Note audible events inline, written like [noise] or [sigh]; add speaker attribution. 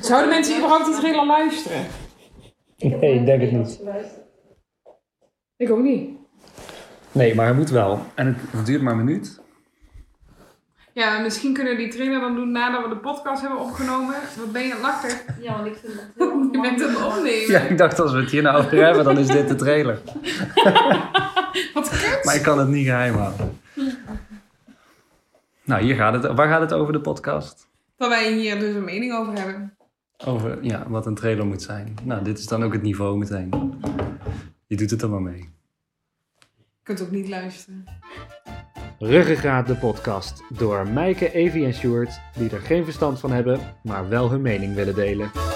Speaker 1: Zouden mensen überhaupt die trailer luisteren?
Speaker 2: Nee, ik denk het niet.
Speaker 1: Ik ook niet.
Speaker 2: Nee, maar hij moet wel. En het, het duurt maar een minuut.
Speaker 1: Ja, misschien kunnen we die trailer dan doen nadat we de podcast hebben opgenomen. Wat ben je lakker?
Speaker 3: Ja, want ik vind dat heel
Speaker 1: [laughs] Je bent
Speaker 3: ongemakkelijk.
Speaker 1: het opnemen.
Speaker 2: Ja, ik dacht als we het hier nou over hebben, dan is dit de trailer.
Speaker 1: Wat kut.
Speaker 2: Maar ik kan het niet geheim houden. Nou, hier gaat het. Waar gaat het over de podcast?
Speaker 1: Dat wij hier dus een mening over hebben.
Speaker 2: Over ja, wat een trailer moet zijn. Nou, dit is dan ook het niveau meteen. Je doet het dan maar mee.
Speaker 1: Je kunt ook niet luisteren.
Speaker 4: Ruggengraat de podcast door Mijke, Evie en Sjoerd, die er geen verstand van hebben, maar wel hun mening willen delen.